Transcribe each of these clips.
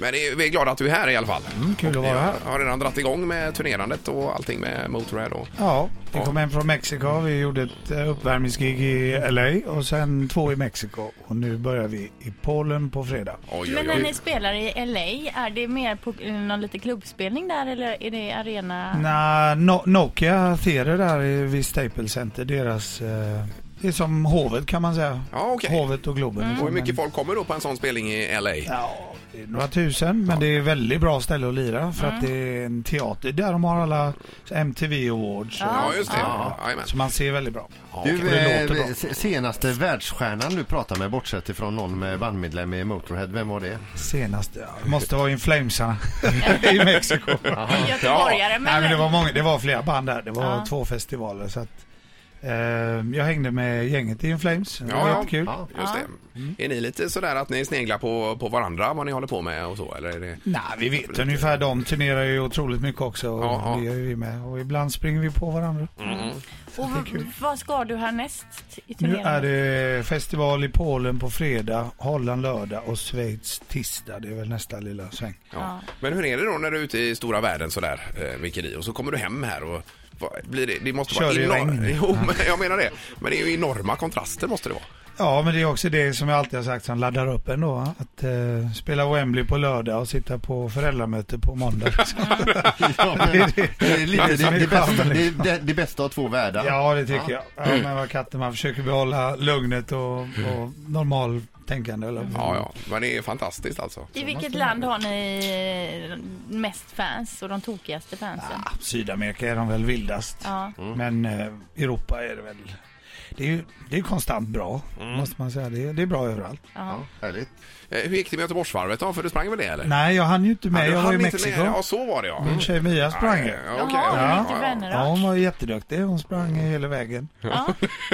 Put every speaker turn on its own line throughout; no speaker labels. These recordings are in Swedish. Men det är, vi är glada att du är här i alla fall.
Mm, kul att
Jag
vara här.
har redan dragit igång med turnerandet och allting med Motorhead. Och,
Ja, vi
Ja.
kom hem från Mexiko. Vi gjorde ett eh, uppvärmningsgig i LA och sen två i Mexiko. Och nu börjar vi i Polen på fredag.
oj,
Men
oj,
när ni
oj.
spelar i LA, är det mer på eh, någon liten klubbspelning där eller är det arena?
Nej, no Nokia Theater där i- vid Staples Center, deras... Eh, det är som hovet kan man säga.
Ja, okej. Mm.
Hovet och Globen.
Och hur mycket
Men-
folk kommer då på en sån spelning i LA?
Ja, det är några tusen, men det är väldigt bra ställe att lira för
Mm.
att det är en teater där de har alla MTV Awards. och-
Ja, just det. Jajamän.
Så man ser väldigt bra.
Du,
Det låter
eh,
bra.
se- senaste världsstjärnan du pratade med, bortsett ifrån någon med bandmedlem i Motorhead, vem var det?
Senaste, ja, det måste vara In Flamesarna i Mexiko.
En göteborgare
Nej,
men,
men det, var många, det var flera band där. Det var
Ja.
två festivaler. Så att, eh, jag hängde med gänget i In Flames. Det
Ja,
var
ja.
jättekul.
Ja.
Just det.
Mm.
Är ni lite sådär att ni sneglar på, på varandra, vad ni håller på med och så? Eller är det...
Nej, vi vet ungefär. De turnerar ju otroligt mycket också. Och
Ja, ja.
Vi är ju med. Och ibland springer vi på varandra.
Mm,
och v- vad ska du härnäst i
Nu
turneringen?
är det festival i Polen på fredag, Holland lördag och Schweiz tisdag. Det är väl nästa lilla sväng.
Ja. Men hur är det då när du är ute i stora världen sådär, eh, Mikkeli, och så kommer du hem här och vad blir det, det måste vara
Kör i regn.
Jo, men jag menar det. Men det är ju enorma kontraster måste det vara.
Ja, men det är också det som jag alltid har sagt som laddar upp en då. Att eh, spela Wembley på lördag och sitta på föräldramöte på måndag.
Ja, men,
Det är det-
det, är lite,
det är som
det,
är
det, bästa,
charmen,
det,
liksom.
det, det bästa av två världar.
Ja, det tycker jag. Ja, men vad katten, man försöker behålla lugnet och, och normal tänkande. Eller?
Mm. Ja, ja. Men det är fantastiskt alltså.
I vilket land har ni mest fans och de tokigaste fansen?
Ah, Sydamerika är de väl vildast.
Ja.
Men eh, Europa är det väl. Det är ju det är konstant bra,
Mm.
måste man säga. Det är, det är bra överallt.
Ja, härligt.
Eh, Hur gick det med Göteborgsvarvet då? För du sprang väl det eller?
Nej, jag hann ju inte med.
du
jag var i
hann inte med
Mexiko.
det. Ja, Mm. så var det ja.
Min tjej Mia sprang ju.
Ja, okej.
Jaha,
Ja, ja,
lite
ja.
vänner.
Ja, hon var ju jätteduktig. Hon sprang hela vägen.
Ja.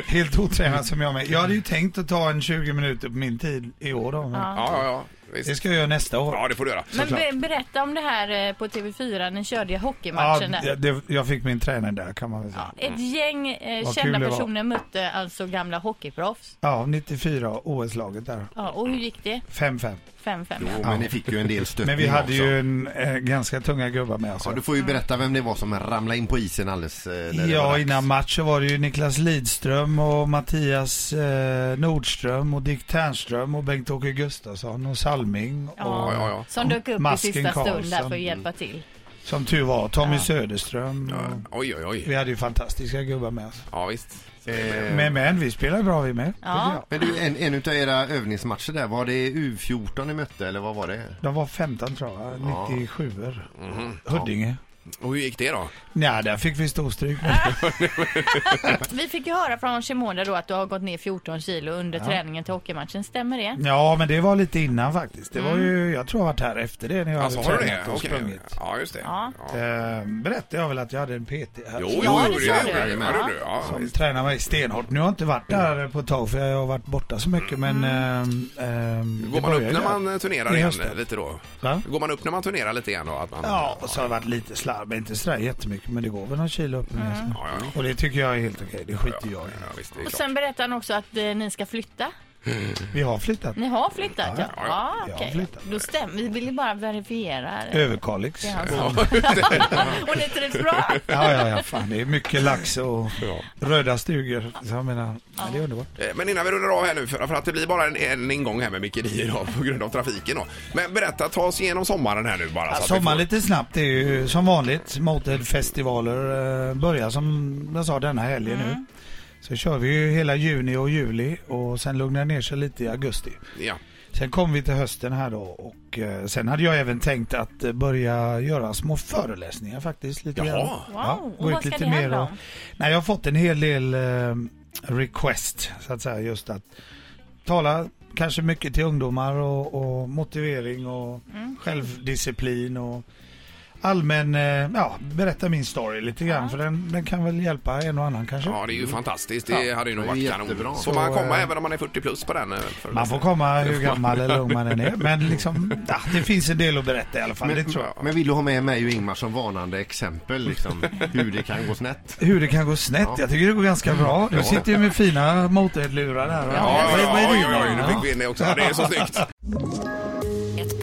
Helt otränad som jag med. Jag hade ju tänkt att ta en 20 minuter på min tid i år då. Men
Ja.
Ja, ja, ja. Visst.
Det ska jag göra nästa år.
Ja, det får du göra.
Men be- berätta om det här eh, på TV4, ni körde ju
Ja,
hockeymatchen
det,
där.
det, jag fick min träning där kan man väl säga.
Ett gäng eh,
Vad
kända
kul det var.
personer mötte alltså gamla hockeyproffs.
Ja, 94 OS-laget där.
Ja, och hur gick det?
5-5.
5-5.
Jo,
ja.
men ni fick ju en del stöttning
Men vi hade
också.
ju en, eh, ganska tunga gubbar med alltså. oss.
Ja, du får ju berätta vem det var som ramlade in på isen alldeles eh, när det var
Ja,
dags.
innan matchen var det ju Niklas Lidström och Mattias eh, Nordström och Dick Ternström och Bengt-Åke Gustafsson och Salming.
Ja,
Och,
ja, ja.
Som dök upp i
Masken
sista stund där
Karlsson.
för att hjälpa till.
Som tur var, Tommy
Ja.
Söderström. Och,
Oj, oj, oj.
vi hade ju fantastiska gubbar med oss.
Ja, visst.
Eh,
Men, men vi spelar bra vi med.
Ja.
Men du, en, en av era övningsmatcher där, var det U14 ni mötte eller vad var det?
De var 15 tror jag, 97 Huddinge.
Mhm. Och hur gick det då?
Nej, där fick vi storstryk.
Vi fick ju höra från Shimoda då att du har gått ner 14 kilo under träningen till hockeymatchen. Stämmer det?
Ja, men det var lite innan faktiskt. Det var ju, jag tror jag har varit här efter det när jag
Alltså, har
hade
Mm. du
tränat
det?
och
Okej.
sprungit.
Ja, just det.
Ja.
Eh, berättade jag väl att jag hade en PT här
Jo,
som-
jo,
Ja,
jo,
det
det
sa
gjorde
du.
du. Ja, det gjorde du. Ja,
som
visst. Mm.
tränar mig stenhårt. Nu har jag inte varit där på ett tag för jag har varit borta så mycket men... ehm, ehm, det
Går man
börjar
upp när
ju där.
man eh, turnerar
I
igen
hösten.
lite då?
Va?
Går man upp när man turnerar lite igen då? Att man...
Ja, och så har det varit lite slarv, men inte sådär jättemycket men det går väl någon kilo upp och ner.
Ja, ja, ja.
Och det tycker jag är helt okej, det skiter jag i.
Mm. Ja, visst, det är
Och
klart.
sen berättar han också att eh, ni ska flytta.
Vi har
Mm.
flyttat.
Ni har flyttat ja?
ja,
Ja,
jag har
okej.
flyttat. Eh.
Då stämmer Vi vill ju bara verifiera. här.
Överkalix.
Det är
Ja,
hans ord. Och ni trivs bra?
ja, ja, fan det är mycket lax och röda stugor. Så jag menar, ja, det är underbart.
Eh, Men innan vi rundar av här nu, för, för att det blir bara en, en ingång här med Micke Di idag på grund av trafiken då. Men berätta, ta oss igenom sommaren här nu bara.
Ja,
så Alltså, att vi
Sommar
får-
lite snabbt, det är ju som vanligt Motorhead-festivaler. eh, Börjar som jag sa denna helgen nu.
Mm.
Så kör vi ju hela juni och juli och sen lugnar det ner sig lite i augusti.
Ja.
Sen kom vi till hösten här då och eh, sen hade jag även tänkt att eh, börja göra små föreläsningar faktiskt. Lite
Jaha.
grann.
Wow,
och vad ska det handla om?
Nej, jag har fått en hel del eh, request så att säga just att tala kanske mycket till ungdomar och, och motivering och självdisciplin och allmän, eh, ja, berätta min story lite grann för den, den kan väl hjälpa en och annan kanske.
Ja, det är ju fantastiskt. Det hade ju nog
det är
varit
jättebra.
kanon. Får
Så,
man komma
eh,
även om man är 40 plus på den? eh, för-
Man får komma hur gammal eller ung man än är men liksom, ja, det finns en del att berätta i alla fall, det
Men,
tror jag.
men vill du ha med mig och Ingmar som varnande exempel liksom, hur det kan gå snett?
Hur det kan gå snett? Jag tycker det går ganska bra. Du sitter ju med fina motorheadlurar här.
Ja,
Vad-
ja,
vad är
ja,
det?
oj, oj, oj, nu fick vi in det också. Ja, Det är så snyggt.
Ett